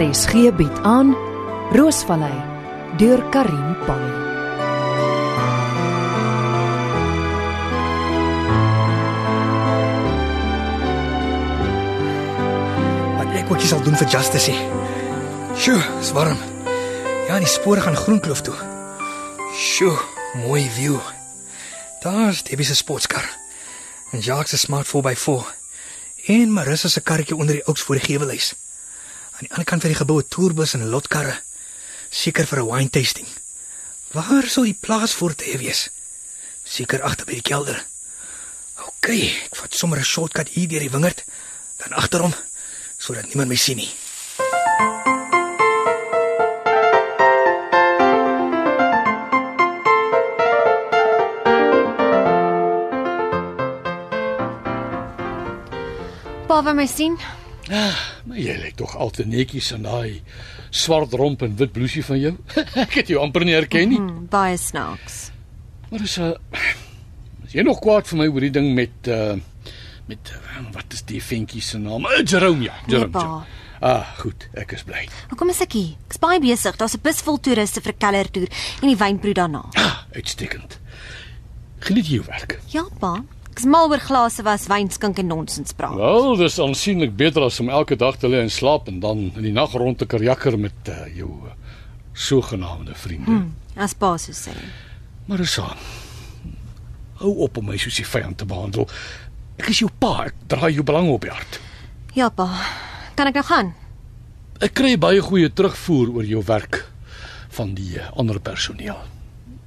RSG bied aan Roosvallei deur Karin Pan. Wat ek ook nie sal doen vir Justice nie. Sjoe, is warm. Ja, die spore gaan Groenkloof toe. Sjoe, mooi view. Daar's Debbie se sportkar. En Jacques se smart 4x4. En Marissa se karretjie onder die ouks voor die gewelhuis. Aan die ander kant van die gebou 'n toerbus en lotkarre. Seker vir 'n wine tasting. Waar sou die plaas voor te wees? Seker agter by die kelder. OK, ek vat sommer 'n shortcut hier deur die wingerd, dan agterom sodat niemand my sien nie. Pa wil my sien. Maar jy lyk tog al te netjies in daai swart romp en wit blousie van jou. ek het jou amper nie herken nie. Hmm, baie snaaks. Maar is 'n Is jy nog kwaad vir my oor die ding met uh met eh, wat is die ventjie se naam? Uh, Jerome ja, Nee, Jerome. pa. Jerome. Ah, goed, ek is bly. Hoekom is ek hier? Ek's baie besig. Daar's 'n bus vol toeriste vir kellertoer en die wynproe daarna. Ah, uitstekend. Geniet jy jou werk. Ja, pa. Ek's mal oor glase was, wyn skink en nonsens praat. Wel, dis aansienlik beter as om elke dag te lê en slaap en dan in die nag rond te karjakker met uh, jou eh, sogenaamde vriende. Hmm. As pa so sê. Maar is aan. Hou op om my soos 'n vyand te behandel. Ek is jou pa, ek dra jou belang op die hart. Ja, pa. Kan ek nou gaan? Ek kry baie goeie terugvoer oor jou werk van die eh, ander personeel.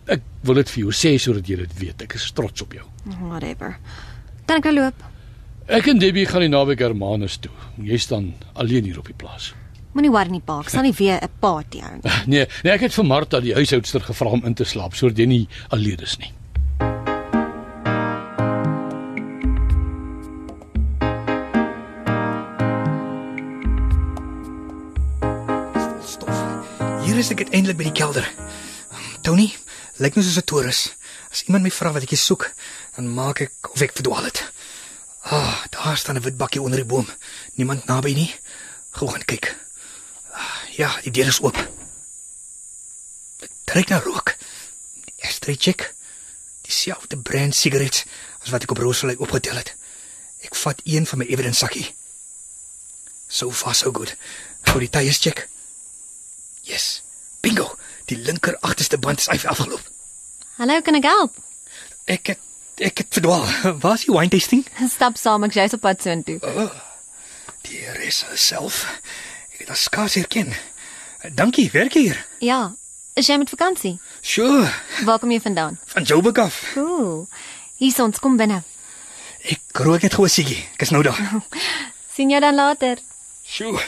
Ek wil dit vir jou sê sodat jy dit weet. Ek is trots op jou. Whatever. Kan ek nou loop? Ek en Debbie gaan die naweek Hermanus toe. Jy staan alleen hier op die plaas. Moenie worry nie, pa. Ek sal nie weer 'n party hou nie. Nee, nee, ek het vir Martha die huishoudster gevra om in te slaap sodat jy nie alleen is nie. Stof. Hier is ek uiteindelik by die kelder. Tony, lyk nou soos 'n toerus. As iemand my vra wat ek hier soek, dan maak ek of ek verdwaal het. Ah, daar staan 'n wit bakkie onder die boom. Niemand naby nie. Gou gaan kyk. Ah, ja, die deur is oop. Dit Ruik na rook. Die Eerste check. Dieselfde brand sigarette as wat ek op Roosvlei opgetel het. Ek vat een van my evidence sakkie. So far so good. Gou die tyres check. Yes. Bingo. Die linker agterste band is af afgeloop. Hallo, kan ek help? Ek het ek het verdwaal. Waar is die wine tasting? Stap saam, ek's jous op pad soontoe. Die res self. Ek het dit skaars herken. Dankie, werk jy hier. Ja. Is jy met vakansie? Sjoe, Waar kom jy vandaan? van Joburg af. Cool. Hier ons kom binne. Ek rook net gou 'n siggie. Ek is nou daar. Sien jou dan later. Sjoe,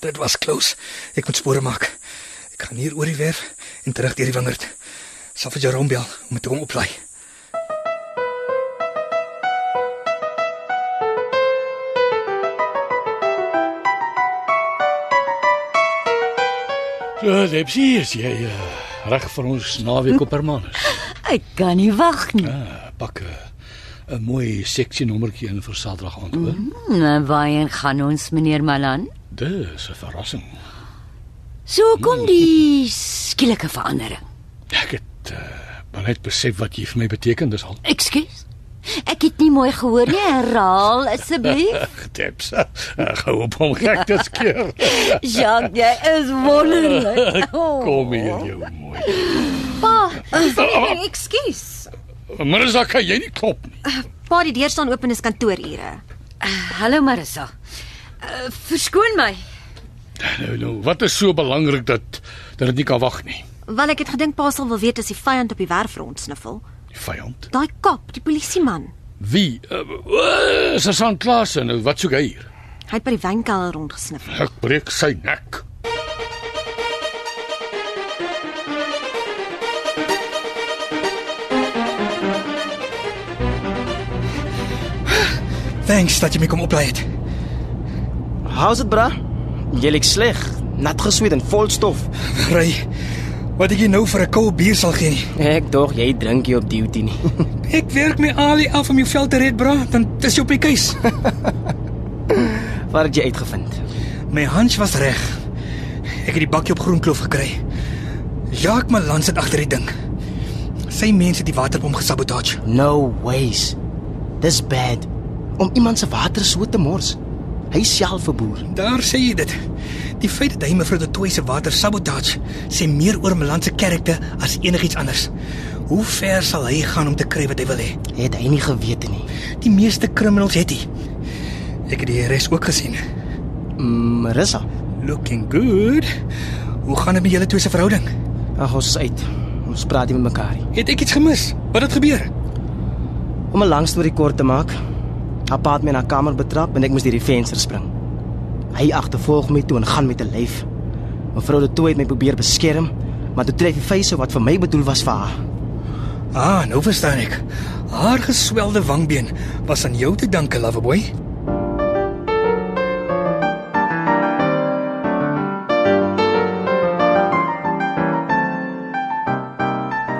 dit was close. Ek moet spore maak. Ek gaan hier oor die werf en terug deur die wingerd. Sal vir Jerome bel om met hom oplaai. So, Debsie, is jy uh, reg vir ons naweek op Hermanus? Ek kan nie wag nie. Ah, pak 'n 'n mooi seksie nommertjie in vir Saterdag aand hoor. Mm. Nou waarheen gaan ons meneer Malan? Dis 'n verrassing. So kom die skielike verandering. Ek het uh, maar net besef wat jy vir my beteken dis al. Ekskuus. Ek het nie mooi gehoor nie. Herhaal asseblief. Getips. Ek hou eh, op om gek te skeer. Jacques, jy is wonderlik. Kom hier jou mooi. Pa, Oh, ekskuus. Marisa, kan jy nie klop nie. Pa, die deur staan oop en dis kantoorure. Hallo Marissa. Uh, verskoon my. Nou nou, wat is so belangrik dat dat dit nie kan wag nie. Wel ek het gedink pa sal wil weet as die vyand op die werf rond sniffel. Die vyand. Daai kap, die polisieman. Wie? Uh, uh, Susan Klasen, nou wat soek hy hier? Hy het by die wynkelder rond gesniffel. Ek breek sy nek. Thanks dat jy my kom oplaai het. How's it, bra? Jy lyk sleg, nat gesweet en vol stof. Ry. Wat ek jou nou vir 'n koue bier sal gee nie. Ek dog jy drink hier op duty nie. Ek werk my alie af om jou veld te red, bra, dan dis jy op die keus. Wat het jy uitgevind? My hunch was reg. Ek het die bakkie op Groenkloof gekry. Jacques Malan sit agter die ding. Sy mense het die waterbom gesabotage. No ways. Dis bad om iemand se water so te mors. Hy is self 'n boer. Daar sê jy dit. Die feit dat hy mevrou de Tooy se water sabotage sê meer oor Malan se karakter as enigiets anders. Hoe ver sal hy gaan om te kry wat hy wil hê? Het hy nie geweet nie. Die meeste criminals het hy. Ek het die res ook gesien. Marissa, Looking good. Hoe gaan dit met julle twee se verhouding? ag ons is uit. Ons praat nie met mekaar nie. Het ek iets gemis? Wat het gebeur? Om 'n lang storie kort te maak, haar pa het my in haar kamer betrap en ek moes deur die venster spring. Hy agtervolg my toe en gaan met 'n lyf. Mevrou de Tooy het my probeer beskerm, maar toe tref die vyse wat vir my bedoel was vir haar. Ah, nou verstaan ek. Haar geswelde wangbeen was aan jou te danke, loveboy.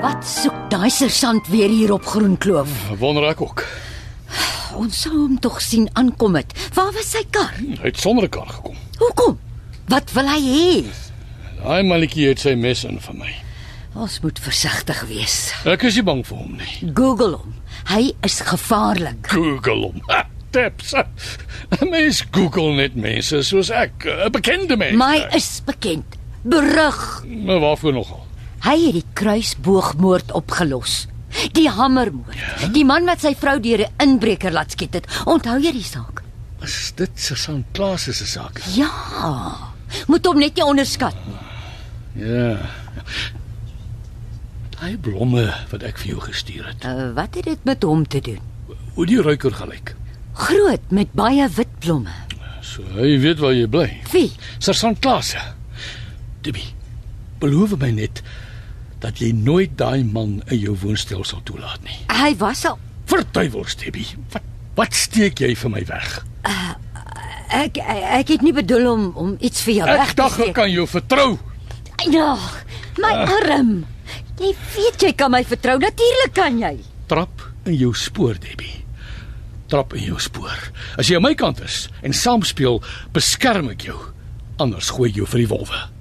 Wat soek daai sersant weer hier op Groenkloof? Wonder ek ook. Ons sou hom tog sien aankom het. Waar was sy kar? Hm, Hy het sonder 'n kar gekom. Hoekom? Wat wil hy hê? Daai mannetjie het sy mes in vir my. Ons moet versigtig wees. Ek is nie bang vir hom nie. Google hom. Hy is gevaarlik. Google hom. Ha, Tips. 'n Mens Google net mense soos ek, 'n bekende mens. Eh, My is bekend. Berug. Maar waarvoor nogal? Hy het die kruisboogmoord opgelos. Die hammermoord. Ja. Die man wat sy vrou deur 'n inbreker laat skiet het. Onthou jy die saak? Is dit Sergeant Klaas se saak? Ja. Moet hom net nie onderskat nie. Ja. Daai blomme wat ek vir jou gestuur het. Uh, wat het dit met hom te doen? Hoe die ruiker gelyk. Groot met baie wit blomme. So hy weet waar jy bly. Wie? Sergeant Klaas. Dibby. Beloof my net dat jy nooit daai man in jou woonstel sal toelaat nie. Hy was al Verduiwels, Dibby. Wat wat steek jy vir my weg? ek ek ek het nie bedoel om om iets vir jou weg Ek te dink ek Eh. steek. kan jou vertrou. Ja, my arm. Jy weet jy kan my vertrou. Natuurlik kan jy. Trap in jou spoor, Dibby. Trap in jou spoor. As jy aan my kant is en saam speel, beskerm ek jou. Anders gooi ek jou vir die wolwe.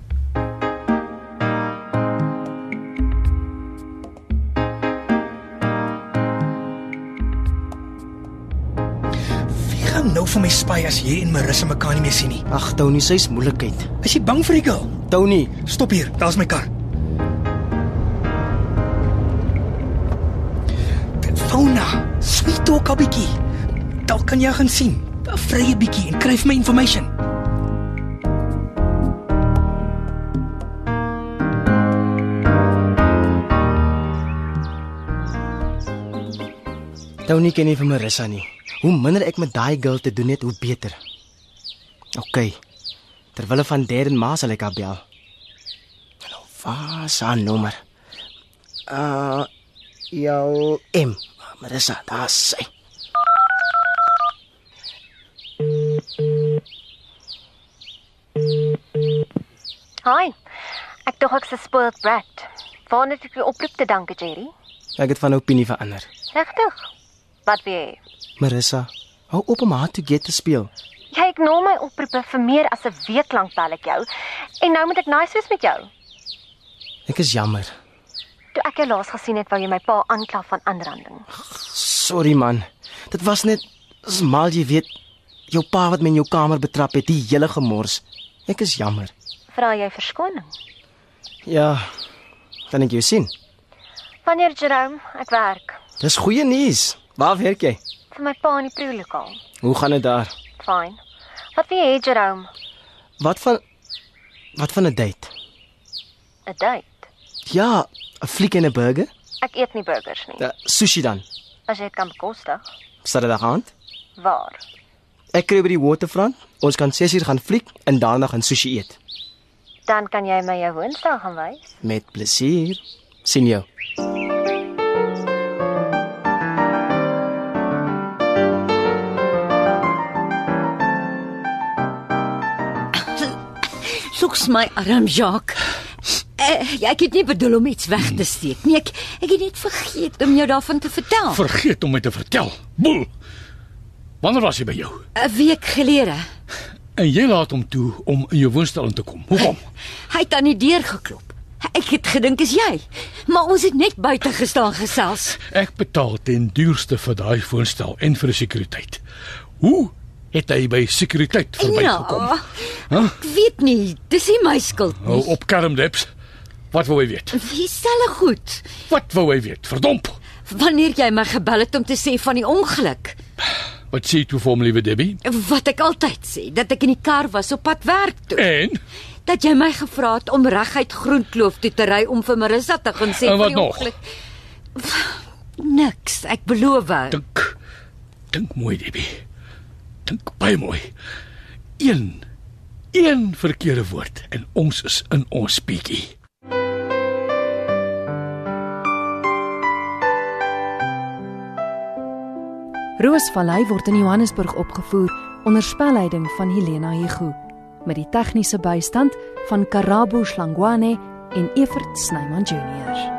Wie gaan nou vir my spy as jy en Marissa mekaar nie meer sien nie? Ag Tony, sy's moeilikheid. Is jy bang vir die girl? Tony, Stop hier, daar's my kar. Telefona, sweet ook 'n bietjie. Dalk kan jy gaan sien. Vry 'n bietjie en kry vir my inligting. Tony ken nie vir Marissa nie. Hoe minder ek met daai girl te doen het, hoe beter. OK. Terwyl van Dad en Ma sal ek haar bel. Nou, waar is haar nommer? Uh jou M. Marissa, daar is sy. Hi. Ek dink ek se spoiled brat. Waarna het ek die oproep te danke, Jerry? Ek het van opinie verander. Regtig? Wat weer? Marissa, hou op om haar toe get te speel. Jy ignoreer my oproepe vir meer as 'n week lank bel ek jou. En nou moet ek nice wees met jou. Ek is jammer. Toe ek jou laas gesien het, wou jy my pa aankla van aanranding. Sorry man. Dit was net smal jy weet jou pa wat my in jou kamer betrap het, die hele gemors. Ek is jammer. Vra jy verskoning? Ja. Kan ek jou sien? Wanneer Jerome, ek werk Dis goeie nuus. Waar werk jy? vir my pa in die proelokaal. Hoe gaan dit daar? Fyn. Wat wil jy hê, Jerome? Wat van Wat van 'n date? 'n Date. Ja, 'n fliek en 'n burger? Ek eet nie burgers nie. Uh, sushi dan. As jy dit kan bekostig. Saterdag aand. Waar? Ek kry by die waterfront. Ons kan 6 uur gaan fliek en daarna gaan sushi eet. Dan kan jy my jou woonstel gaan wys. Met plesier. Sien jou. Soeks my arm, Jacques. Eh, ek het nie bedoel om iets weg te steek nie. Ek ek het net vergeet om jou daarvan te vertel. Vergeet om my te vertel. Boel. Wanneer was hy by jou? 'n Week gelede. En jy laat hom toe om in jou woonstel in te kom. Hoekom? Hy het aan die deur geklop. Ek het gedink is jy, maar ons het net buite gestaan gesels. Ek betaal ten duurste vir daai woonstel en vir die sekuriteit. Hoe het hy by sekuriteit Nou. verbygekom? Huh? ek weet nie, dis nie my skuld Hou nie. op kermdips. Wat wou hy weet? Wie stel ek goed? Wat wou hy weet? Verdomp. Wanneer jy my gebel het om te sê van die ongeluk, Wat sê jy toe vir hom, liewe Debbie? wat ek altyd sê, dat ek in die kar was op pad werk toe, En dat jy my gevra het om reguit Groenkloof toe te ry om vir Marissa te gaan sê En wat van die nog? ongeluk. Niks, ek beloof. dink dink mooi, Debbie. Dink baie mooi. Een een verkeerde woord en ons is in ons bietjie. Roosvallei word in Johannesburg opgevoer onder spelleiding van Helena Hugo met die tegniese bystand van Karabo Slangwane en Evert Snyman Junior.